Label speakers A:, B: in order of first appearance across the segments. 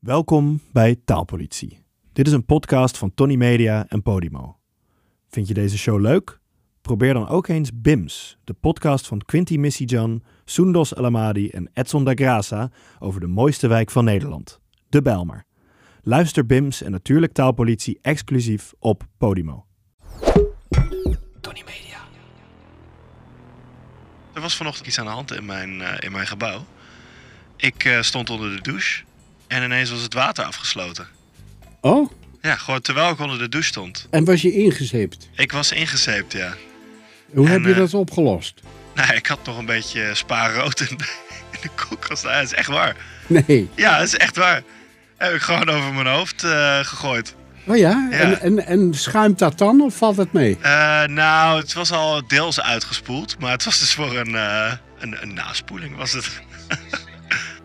A: Welkom bij Taalpolitie. Dit is een podcast van Tony Media en Podimo. Vind je deze show leuk? Probeer dan ook eens BIMS, de podcast van Quinty Missijan, Soendos Elamadi en Edson da Graça over de mooiste wijk van Nederland, de Bijlmer. Luister BIMS en natuurlijk Taalpolitie exclusief op Podimo.
B: Tony Media. Er was vanochtend iets aan de hand in mijn, eh, in mijn gebouw. Ik eh, stond onder de douche en ineens was het water afgesloten.
C: Oh,
B: Ja, gewoon terwijl ik onder de douche stond.
C: en was je ingezeept?
B: Ik was ingezeept, ja.
C: Hoe
B: En,
C: heb je
B: eh,
C: dat opgelost?
B: Nou, ik had nog een beetje spaarrood in de, in de koelkast. Nou, dat is echt waar.
C: Nee.
B: Ja, dat is echt waar. Heb ik gewoon over mijn hoofd eh, gegooid.
C: Oh ja?
B: Ja.
C: En, en, en schuimt dat dan of valt het mee?
B: Eh, nou, het was al deels uitgespoeld, maar het was dus voor een, eh, een, een naspoeling was het.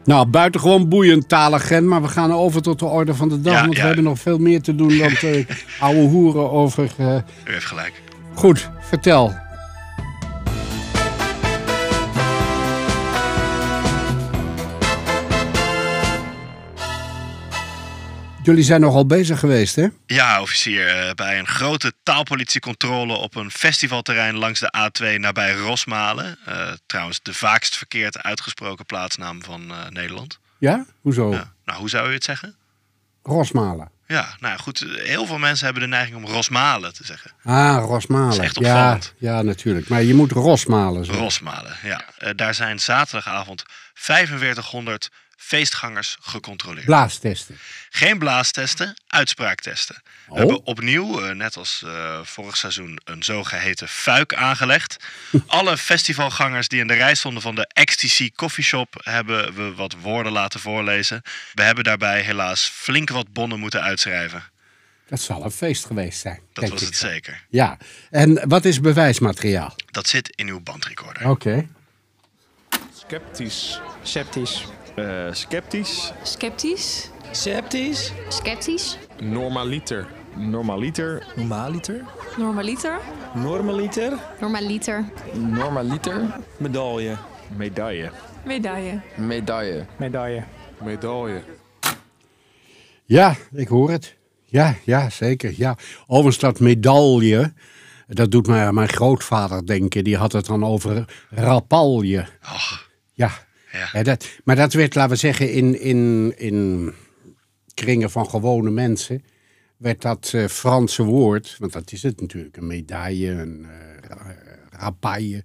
C: Nou, buitengewoon boeiend talen, maar we gaan over tot de orde van de dag.
B: Ja,
C: want
B: ja.
C: we hebben nog veel meer te doen dan te ouwe hoeren over... eh,
B: U heeft gelijk.
C: Goed, vertel. Jullie zijn nogal bezig geweest, hè?
B: Ja, officier. eh, Bij een grote taalpolitiecontrole op een festivalterrein langs de A2 nabij Rosmalen. Eh, trouwens, de vaakst verkeerd uitgesproken plaatsnaam van eh, Nederland.
C: Ja? Hoezo?
B: Ja. Nou, hoe zou u het zeggen?
C: Rosmalen.
B: Ja, nou ja, goed. eh, Heel veel mensen hebben de neiging om Rosmalen te zeggen.
C: Ah, Rosmalen.
B: Is echt
C: ja,
B: opvallend.
C: ja, natuurlijk. Maar je moet Rosmalen zeggen.
B: Rosmalen, ja. Eh, daar zijn zaterdagavond 4500 feestgangers gecontroleerd.
C: Blaastesten.
B: Geen blaastesten, uitspraaktesten. We
C: Oh.
B: hebben opnieuw, eh, net als eh, vorig seizoen, een zogeheten fuik aangelegd. Alle festivalgangers die in de rij stonden van de XTC Coffeeshop hebben we wat woorden laten voorlezen. We hebben daarbij helaas flink wat bonnen moeten uitschrijven.
C: Dat zal een feest geweest zijn.
B: Dat
C: denk
B: was
C: ik.
B: het zeker.
C: Ja. En wat is bewijsmateriaal?
B: Dat zit in uw bandrecorder.
C: Oké.
D: Sceptisch.
E: Sceptisch.
D: eh sceptisch.
F: Sceptisch?
E: Sceptisch?
F: Sceptisch?
D: Normaliter. Normaliter.
E: Normaliter?
F: Normaliter?
E: Normaliter?
F: Normaliter.
G: Normaliter. Medaille.
D: Medaille.
F: Medaille.
G: Medaille.
E: Medaille.
D: Medaille.
C: Ja, ik hoor het. Ja, ja, zeker. Ja. Overigens dat medaille, dat doet mij aan mijn grootvader denken. Die had het dan over rapalje.
B: Och,
C: Ja.
B: Ja.
C: Ja, dat, maar dat werd, laten we zeggen, in, in, in kringen van gewone mensen... werd dat eh, Franse woord, want dat is het natuurlijk, een medaille, een eh, ra- rapaille...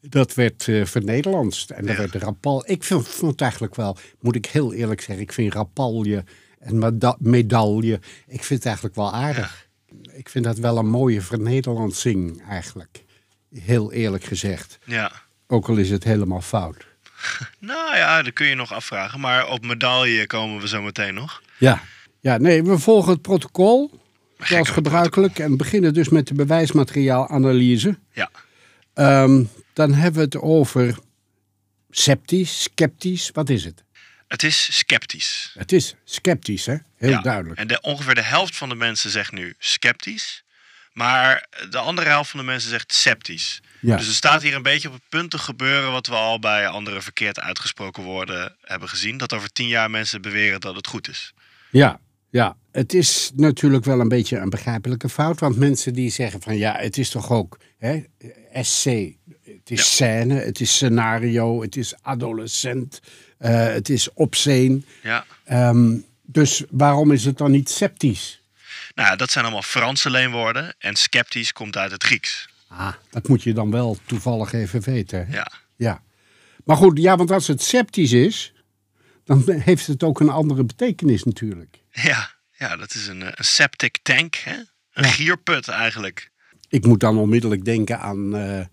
C: dat werd eh vernederlandst en dat werd rapal. Ik vind, vond het eigenlijk wel, moet ik heel eerlijk zeggen... ik vind rapalje en meda- medaille, ik vind het eigenlijk wel aardig. Ik vind dat wel een mooie vernederlandsing eigenlijk, heel eerlijk gezegd.
B: ja.
C: Ook al is het helemaal fout.
B: Nou ja, dat kun je nog afvragen. Maar op medaille komen we zo meteen nog.
C: Ja. Ja, nee, we volgen het protocol, zoals gebruikelijk, en beginnen dus met de bewijsmateriaalanalyse.
B: Ja,
C: Ehm, dan hebben we het over sceptisch, sceptisch, wat is het?
B: het is sceptisch.
C: Het is sceptisch, hè? Heel
B: Ja,
C: duidelijk.
B: En de, ongeveer de helft van de mensen zegt nu sceptisch. Maar de andere helft van de mensen zegt sceptisch.
C: Ja.
B: Dus er staat hier een beetje op het punt te gebeuren wat we al bij andere verkeerd uitgesproken woorden hebben gezien. Dat over tien jaar mensen beweren dat het goed is.
C: Ja, ja. Het is natuurlijk wel een beetje een begrijpelijke fout. Want mensen die zeggen van ja, het is toch ook hè, SC. Het is scène, het is scenario, het is adolescent, eh, het is obscene.
B: Ja.
C: Ehm, dus waarom is het dan niet sceptisch?
B: Nou, ja, dat zijn allemaal Franse leenwoorden. En sceptisch komt uit het Grieks.
C: Ah, dat moet je dan wel toevallig even weten. hè?
B: Ja.
C: Ja. Maar goed, ja, want als het sceptisch is, dan heeft het ook een andere betekenis natuurlijk.
B: Ja, ja dat is een, eh, een septic tank. Hè? Een gierput eigenlijk.
C: Ik moet dan onmiddellijk denken aan eh, eh,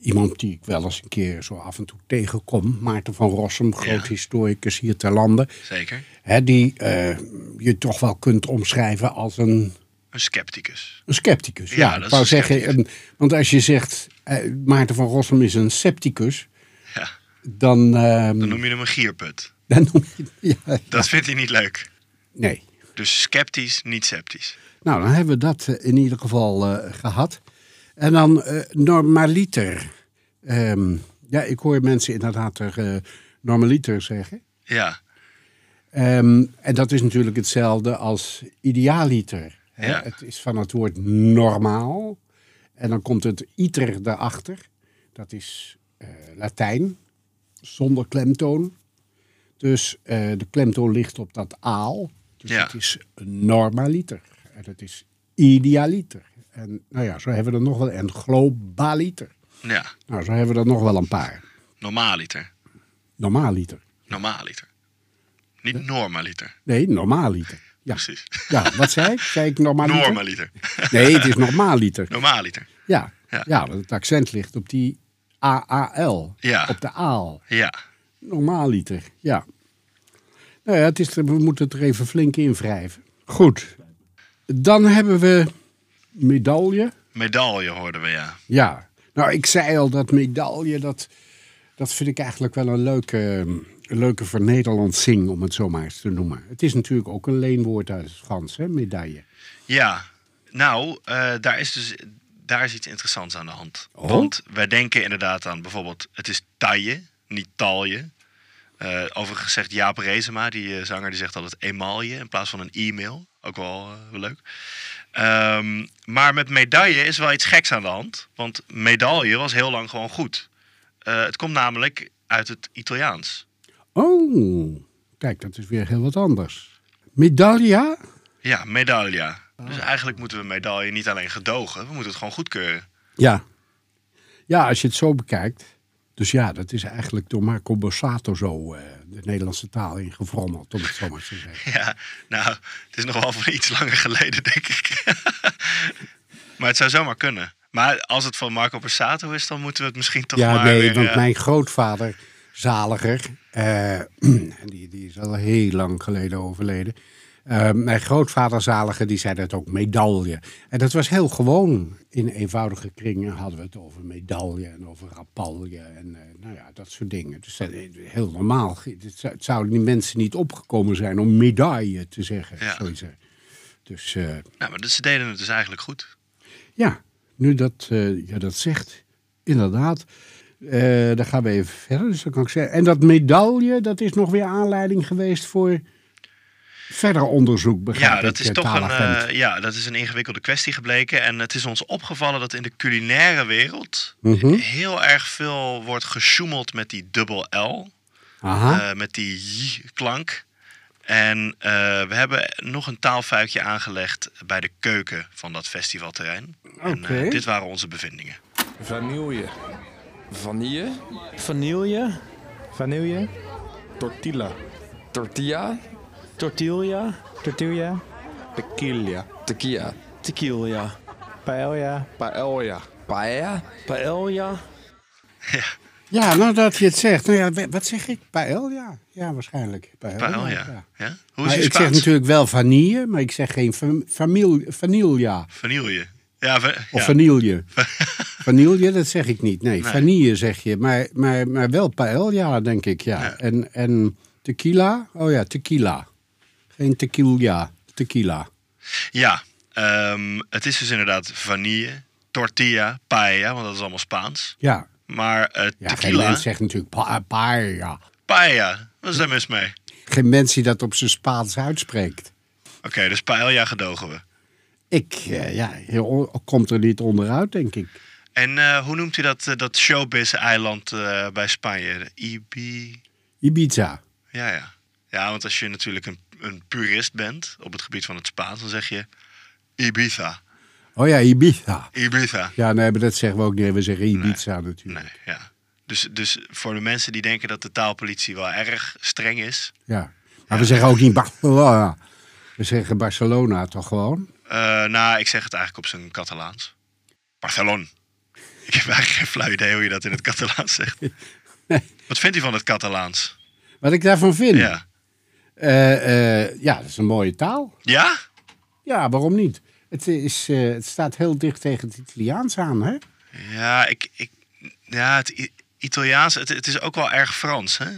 C: iemand die ik wel eens een keer zo af en toe tegenkom. Maarten van Rossum, groot
B: Ja.
C: historicus hier ter lande.
B: Zeker.
C: Hè, die eh, je toch wel kunt omschrijven als een
B: Een scepticus.
C: Een scepticus, ja.
B: Ja, dat
C: ik
B: is
C: wou
B: een
C: zeggen,
B: scepticus.
C: een- want als je zegt eh, Maarten van Rossum is een scepticus,
B: Ja.
C: dan, ehm,
B: Dan noem je hem een gierput.
C: dan noem je... Ja,
B: Dat vindt hij niet leuk.
C: nee.
B: Dus sceptisch, niet sceptisch.
C: Nou, dan hebben we dat eh, in ieder geval eh, gehad. En dan eh, normaliter. Ehm, ja, ik hoor mensen inderdaad er eh, normaliter zeggen.
B: Ja.
C: Ehm, en dat is natuurlijk hetzelfde als idealiter. hè.
B: Ja.
C: Het is van het woord normaal. En dan komt het iter daarachter. Dat is eh, Latijn, zonder klemtoon. Dus eh, de klemtoon ligt op dat aal. Dus
B: Ja.
C: het is normaliter. En het is idealiter. En nou ja, zo hebben we er nog wel. En globaliter.
B: Ja,
C: Nou, zo hebben we er nog wel een paar.
B: normaaliter.
C: Normaaliter.
B: Normaaliter. Niet normaliter.
C: Nee, normaaliter. Ja,
B: Precies.
C: ja wat zei ik? Zei ik normaliter?
B: Normaliter.
C: Nee, het is normaaliter.
B: Normaliter.
C: Ja.
B: Ja.
C: Ja. want het accent ligt op die AAL.
B: Ja.
C: Op de aal.
B: Ja.
C: Normaaliter, ja. Nou ja, het is, er- we moeten het er even flink in wrijven. Goed. Dan hebben we medaille.
B: Medaille hoorden we, ja.
C: Ja. Nou, ik zei al, dat medaille, dat, dat vind ik eigenlijk wel een leuke, een leuke voor Nederlands zing, om het zo maar eens te noemen. Het is natuurlijk ook een leenwoord uit het Frans, hè, medaille.
B: Ja, nou, eh, daar, is dus, daar is iets interessants aan de hand. Want wij denken inderdaad aan bijvoorbeeld, het is taille, niet talje. Eh, overigens zegt Jaap Rezema, die eh, zanger, die zegt altijd emaille in plaats van een e-mail. Ook wel eh, wel leuk. Ehm, maar met medaille is wel iets geks aan de hand. Want medaille was heel lang gewoon goed. Eh, het komt namelijk uit het Italiaans.
C: Oh, kijk, dat is weer heel wat anders. Medaglia?
B: Ja, medaglia. Dus eigenlijk moeten we medaille niet alleen gedogen, we moeten het gewoon goedkeuren.
C: Ja. Ja, als je het zo bekijkt. Dus ja, dat is eigenlijk door Marco Borsato zo eh, de Nederlandse taal ingevrommeld, om het zo maar te zeggen.
B: Ja, nou, het is nog wel van iets langer geleden, denk ik. maar het zou zomaar kunnen. Maar als het van Marco Borsato is, dan moeten we het misschien toch
C: Ja,
B: maar
C: nee,
B: weer,
C: want
B: eh,
C: mijn grootvader, zaliger, eh, en die, die is al heel lang geleden overleden. Eh, mijn grootvader, zaliger, die zei dat ook, medaille. En dat was heel gewoon. In eenvoudige kringen hadden we het over medaille en over rapalje en eh, nou ja, dat soort dingen. Dus dat, eh, heel normaal. Het zou- het zouden die mensen niet opgekomen zijn om medaille te zeggen.
B: Ja.
C: Zoiets. eh. Dus... eh,
B: Nou, maar ze deden het dus eigenlijk goed.
C: ja, nu dat eh, je dat zegt, inderdaad. Eh dan gaan we even verder. Dus dat kan ik zeggen. En dat medaille, dat is nog weer aanleiding geweest voor verder onderzoek, begrijp
B: Ja, dat
C: ik,
B: is
C: eh,
B: toch een,
C: Talagent.
B: eh, ja, dat is een ingewikkelde kwestie gebleken. En het is ons opgevallen dat in de culinaire wereld
C: Mhm.
B: heel erg veel wordt gesjoemeld met die dubbel L.
C: Aha,
B: eh, met die j-klank. En eh, we hebben nog een taalfuikje aangelegd bij de keuken van dat festivalterrein. En eh,
C: Oké.
B: dit waren onze bevindingen.
D: Vanille.
G: Vanille.
E: Vanille.
D: Vanille. Tortilla.
G: Tortilla.
E: Tortilla. Tortilla.
D: Tequila.
G: Tequila.
E: Tequila. Paella.
D: Paella.
G: Paella.
E: Paella.
C: ja, nou dat je het zegt. Nou ja, we- wat zeg ik? Paella? Ja, waarschijnlijk. Paella,
B: Paella.
C: Oh, ja.
B: Ja. Hoe is
C: Maar
B: je
C: ik zeg
B: Spaans?
C: natuurlijk wel vanille, maar ik zeg geen fam- famil- vanilla
B: Vanille. Ja, va-
C: of
B: ja.
C: vanille. Vanille, dat zeg ik niet. Nee, vanille zeg je. Maar, maar, maar wel paella, denk ik, ja.
B: Ja.
C: En, en tequila? Oh ja, tequila. Geen tequila, tequila.
B: Ja, ehm, het is dus inderdaad vanille, tortilla, paella, want dat is allemaal Spaans.
C: Ja,
B: Maar eh,
C: ja geen
B: tequila,
C: mens zegt natuurlijk pa paella.
B: paella, wat is daar mis mee?
C: Geen mens die dat op zijn Spaans uitspreekt.
B: Oké, dus paella gedogen we.
C: Ik, eh, ja, je o- komt er niet onderuit, denk ik.
B: En eh, hoe noemt u dat, eh, dat showbiz-eiland eh, bij Spanje? De Ibi...
C: Ibiza.
B: Ja, ja. Ja, want als je natuurlijk een, een purist bent op het gebied van het Spaans, dan zeg je Ibiza.
C: Oh ja, Ibiza.
B: Ibiza.
C: Ja, nee, maar dat zeggen we ook niet. We zeggen Ibiza natuurlijk.
B: Nee, ja. Dus, dus voor de mensen die denken dat de taalpolitie wel erg streng is.
C: Ja. Maar we zeggen ook niet Barcelona. We zeggen Barcelona toch gewoon?
B: eh, nou, ik zeg het eigenlijk op zijn Catalaans. Barcelon. Ik heb eigenlijk geen flauw idee hoe je dat in het Catalaans zegt. Wat vindt u van het Catalaans?
C: Wat ik daarvan vind?
B: Ja.
C: Eh, eh, ja, dat is een mooie taal.
B: Ja?
C: Ja, waarom niet? Het, is, eh, het staat heel dicht tegen het Italiaans aan, hè?
B: Ja, ik, ik, ja het I- Italiaans, het, het is ook wel erg Frans, hè? Er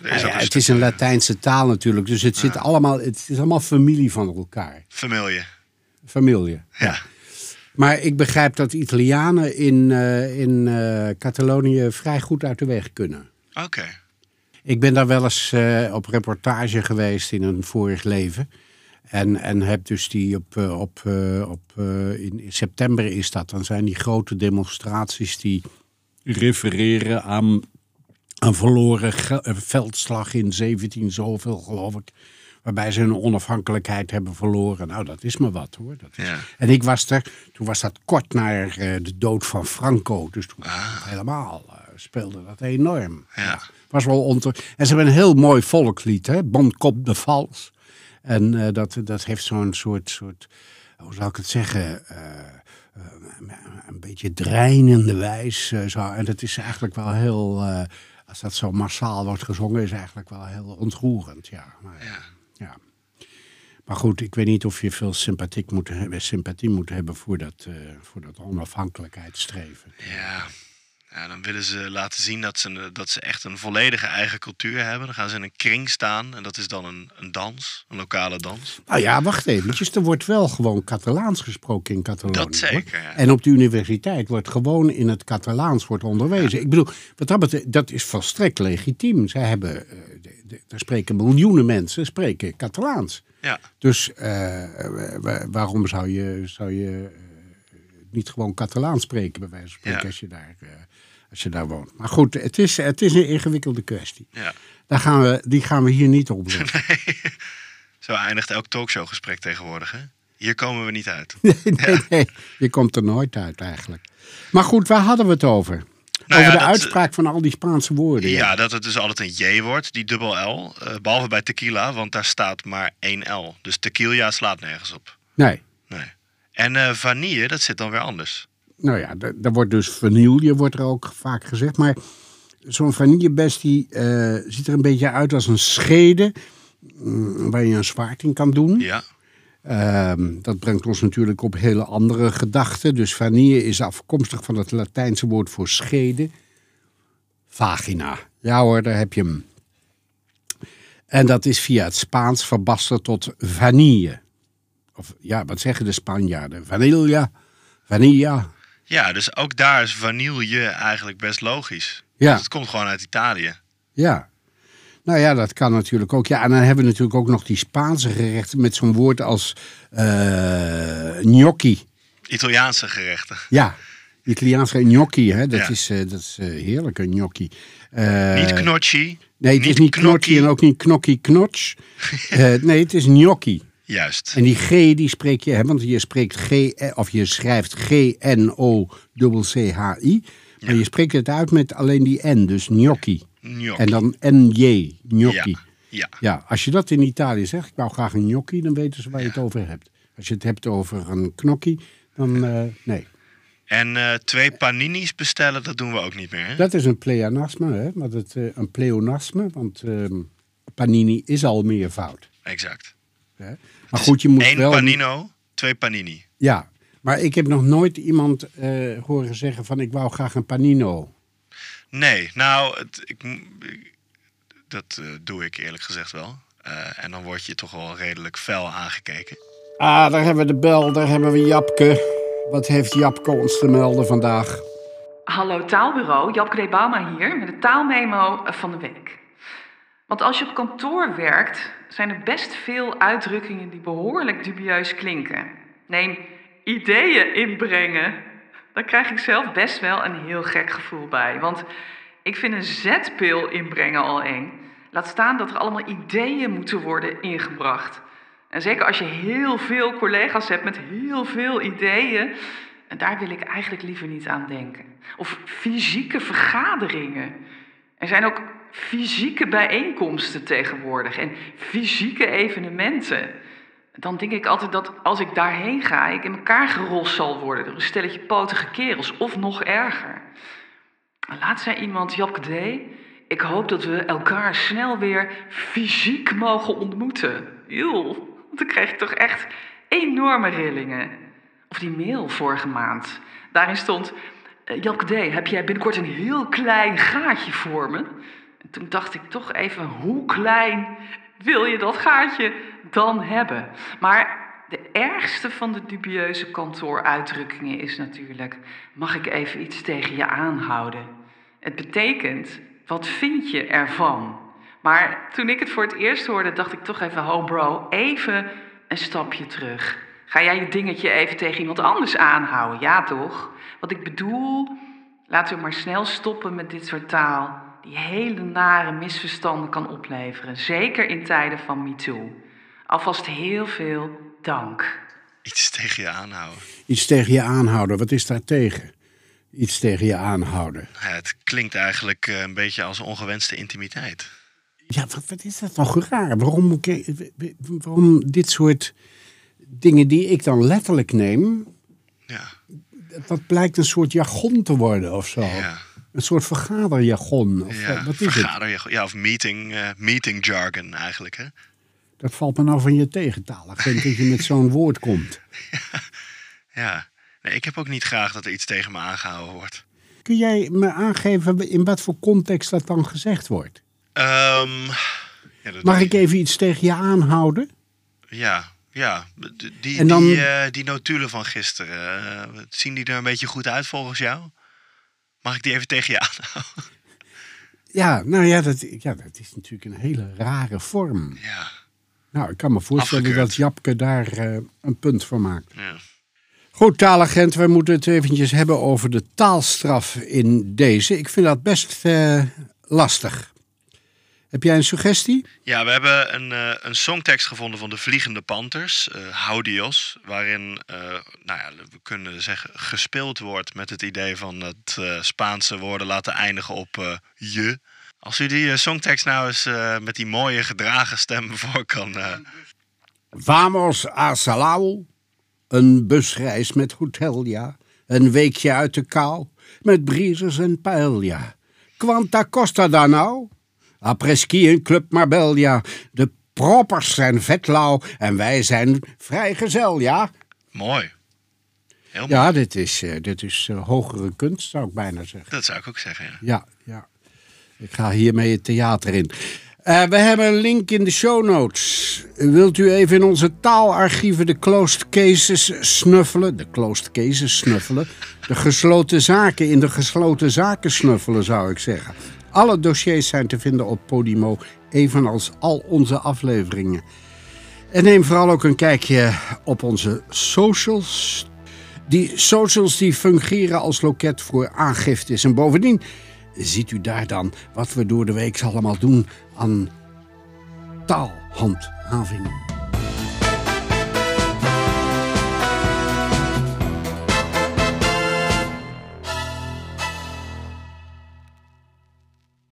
B: is
C: Nou
B: ook
C: ja,
B: een
C: het
B: stuk
C: is een Latijnse taal natuurlijk, dus het, zit allemaal, het is allemaal familie van elkaar.
B: familie.
C: Familie.
B: Ja.
C: Maar ik begrijp dat Italianen in, eh, in eh, Catalonië vrij goed uit de weg kunnen.
B: Oké.
C: Ik ben daar wel eens eh, op reportage geweest in een vorig leven. En, en heb dus die op, eh, op, eh, op eh, in in september is dat. Dan zijn die grote demonstraties die refereren aan een verloren ge- eh, veldslag in 17 zoveel geloof ik. Waarbij ze hun onafhankelijkheid hebben verloren. Nou, dat is maar wat hoor. Dat is...
B: Ja.
C: En ik was er, toen was dat kort na eh, de dood van Franco. Dus toen was dat helemaal eh, speelde dat enorm.
B: Ah. Ja.
C: Was wel onter... En ze hebben een heel mooi volkslied, hè? Bonkop de Vals. En eh, dat, dat heeft zo'n soort, soort, hoe zou ik het zeggen, eh, eh, een beetje dreinende wijs. eh, zo. En dat is eigenlijk wel heel, eh, als dat zo massaal wordt gezongen, is eigenlijk wel heel ontroerend. Ja. Maar,
B: Ja.
C: ja. maar goed, ik weet niet of je veel sympathiek moet, hebben- sympathie moet hebben voor dat, eh, voor dat onafhankelijkheidsstreven.
B: Ja. ja, dan willen ze laten zien dat ze, een- eh, dat ze echt een volledige eigen cultuur hebben. Dan gaan ze in een kring staan en dat is dan een, een dans, een lokale dans.
C: Nou ja, wacht eventjes. Er wordt wel gewoon Catalaans gesproken in Catalonië.
B: Dat zeker,
C: hoor.
B: ja.
C: En op de universiteit wordt gewoon in het Catalaans wordt onderwezen. Ik bedoel, wat dat betreft, dat is volstrekt legitiem. Zij hebben, eh, de- de- daar spreken miljoenen mensen, spreken Catalaans.
B: Ja,
C: Dus eh, eh, wa- waarom zou je, zou je eh, niet gewoon Catalaans spreken, bij wijze van spreken,
B: Ja.
C: als, je daar, eh, als je daar woont? Maar goed, het is, het is een ingewikkelde kwestie.
B: ja.
C: Daar gaan we, die gaan we hier niet oplossen.
B: Zo eindigt elk talkshowgesprek tegenwoordig, hè? Hier komen we niet uit.
C: nee, nee, je komt er nooit uit eigenlijk. Maar goed, waar hadden we het over? over
B: Nou ja,
C: de
B: dat, eh,
C: uitspraak van al die Spaanse woorden. ja.
B: Ja, dat het dus altijd een J wordt, die dubbel L. eh, behalve bij tequila, want daar staat maar één L. Dus tequila slaat nergens op.
C: Nee.
B: Nee. En eh, vanille, dat zit dan weer anders.
C: Nou ja, d- daar wordt dus vanille, wordt er ook vaak gezegd. Maar zo'n vanillebest die, eh, ziet er een beetje uit als een schede. mm, Waar je een zwaard in kan doen.
B: Ja,
C: Ehm, dat brengt ons natuurlijk op hele andere gedachten. Dus vanille is afkomstig van het Latijnse woord voor schede. Vagina. Ja hoor, daar heb je hem. En dat is via het Spaans verbasterd tot vanille. Of ja, wat zeggen de Spanjaarden? Vanilla, vanilla.
B: ja dus ook daar is vanille eigenlijk best logisch.
C: Ja.
B: Dus het komt gewoon uit Italië.
C: Ja. Nou ja, dat kan natuurlijk ook. Ja, en dan hebben we natuurlijk ook nog die Spaanse gerechten met zo'n woord als eh gnocchi.
B: Italiaanse gerechten.
C: Ja, Italiaanse gnocchi, hè? Dat,
B: Ja.
C: is, eh, dat is eh, heerlijk, een gnocchi. Eh,
B: niet knotchi.
C: Nee, het is niet knotje en ook niet knokkie knots. Eh, nee, het is gnocchi.
B: Juist.
C: En die G die spreek je, hè, want je spreekt G, eh, of je schrijft G-N-O-C-H-I. Maar je spreekt het uit met alleen die N, dus gnocchi.
B: Gnocchi.
C: En dan N-J, gnocchi.
B: Ja. ja.
C: Ja, als je dat in Italië zegt, ik wou graag een gnocchi, dan weten ze waar je het over hebt. Als je het hebt over een knokkie, dan eh, nee.
B: En eh, twee paninis bestellen, dat doen we ook niet meer. Hè?
C: Dat is een pleonasme, hè? Want het, eh, een pleonasme, want ehm, panini is al meervoud.
B: Exact.
C: Hè? Maar goed, je moet
B: Eén
C: wel...
B: panino, twee panini.
C: Ja, maar ik heb nog nooit iemand eh, horen zeggen van ik wou graag een panino.
B: Nee, nou, het, ik, m- ik- dat eh, doe ik eerlijk gezegd wel. Eh, en dan word je toch wel redelijk fel aangekeken.
C: Ah, daar hebben we de bel, daar hebben we Japke. Wat heeft Japke ons te melden vandaag?
H: Hallo taalbureau, Jap Krebama hier met de taalmemo van de week. Want als je op kantoor werkt, zijn er best veel uitdrukkingen die behoorlijk dubieus klinken. Neem ideeën inbrengen. Daar krijg ik zelf best wel een heel gek gevoel bij. Want ik vind een zetpil inbrengen al eng. Laat staan dat er allemaal ideeën moeten worden ingebracht. En zeker als je heel veel collega's hebt met heel veel ideeën. En daar wil ik eigenlijk liever niet aan denken. Of fysieke vergaderingen. Er zijn ook fysieke bijeenkomsten tegenwoordig en fysieke evenementen. Dan denk ik altijd dat als ik daarheen ga, ik in elkaar gerost zal worden door een stelletje potige kerels of nog erger. Laatst zei iemand, Japke D. Ik hoop dat we elkaar snel weer fysiek mogen ontmoeten. Eeuw, want dan krijg ik toch echt enorme rillingen. Of die mail vorige maand. Daarin stond, eh, Japke D, heb jij binnenkort een heel klein gaatje voor me? En toen dacht ik toch even, hoe klein wil je dat gaatje dan hebben? Maar de ergste van de dubieuze kantooruitdrukkingen is natuurlijk: mag ik even iets tegen je aanhouden? Het betekent: wat vind je ervan? Maar toen ik het voor het eerst hoorde, dacht ik toch even: ho bro, even een stapje terug. Ga jij je dingetje even tegen iemand anders aanhouden? Ja, toch? Wat ik bedoel, laten we maar snel stoppen met dit soort taal. Die hele nare misverstanden kan opleveren. Zeker in tijden van MeToo. Alvast heel veel dank.
B: Iets tegen je aanhouden.
C: Iets tegen je aanhouden, wat is daar tegen? Iets tegen je aanhouden.
B: Nou ja, het klinkt eigenlijk eh, een beetje als ongewenste intimiteit.
C: Ja, wat, wat is dat toch raar? Waarom, ke- waarom dit soort dingen die ik dan letterlijk neem,
B: Ja,
C: dat blijkt een soort jargon te worden of zo.
B: ja.
C: Een soort vergaderjargon. Of
B: ja.
C: wat is het?
B: Vergader, ja, of meeting, eh, meeting jargon eigenlijk. Hè?
C: Dat valt me nou van je tegentalig. Ik vind dat je met zo'n woord komt.
B: Ja. Nee, ik heb ook niet graag dat er iets tegen me aangehouden wordt.
C: Kun jij me aangeven in wat voor context dat dan gezegd wordt?
B: Ehm, ja, dat
C: Mag ik even iets tegen je aanhouden?
B: Ja, ja. D- Die,
C: En dan-
B: die, eh, die notulen van gisteren, eh, zien die er een beetje goed uit volgens jou? Mag ik die even tegen je aanhouden?
C: Ja, nou ja dat, ja, dat is natuurlijk een hele rare vorm.
B: Ja,
C: Nou, ik kan me voorstellen
B: Afgekeurd.
C: dat Japke daar eh, een punt van maakt.
B: ja.
C: Goed, taalagent, we moeten het eventjes hebben over de taalstraf in deze. Ik vind dat best eh, lastig. Heb jij een suggestie?
B: Ja, we hebben een, eh, een songtekst gevonden van de Vliegende Panthers, eh Houdios, waarin, eh, nou ja, we kunnen zeggen, gespeeld wordt met het idee van het eh, Spaanse woorden laten eindigen op eh, je. Als u die eh, songtekst nou eens eh, met die mooie gedragen stem voor kan... eh,
C: Vamos a Salau. Een busreis met hotel, ja. Een weekje uit de kou. Met briezers en paella. Quanta costa daar nou? Après-ski en Club Marbella. De proppers zijn vetlauw en wij zijn vrijgezel, ja.
B: Mooi. Heel mooi.
C: Ja, dit is, eh, dit is eh, hogere kunst, zou ik bijna zeggen.
B: Dat zou ik ook zeggen. ja.
C: Ja, ja. Ik ga hiermee het theater in. Eh, we hebben een link in de show notes. Wilt u even in onze taalarchieven de closed cases snuffelen? De closed cases snuffelen? De gesloten zaken in de gesloten zaken snuffelen, zou ik zeggen. Alle dossiers zijn te vinden op Podimo, evenals al onze afleveringen. En neem vooral ook een kijkje op onze socials. Die socials die fungeren als loket voor aangiftes. En bovendien ziet u daar dan wat we door de week allemaal doen aan taalhandhaving.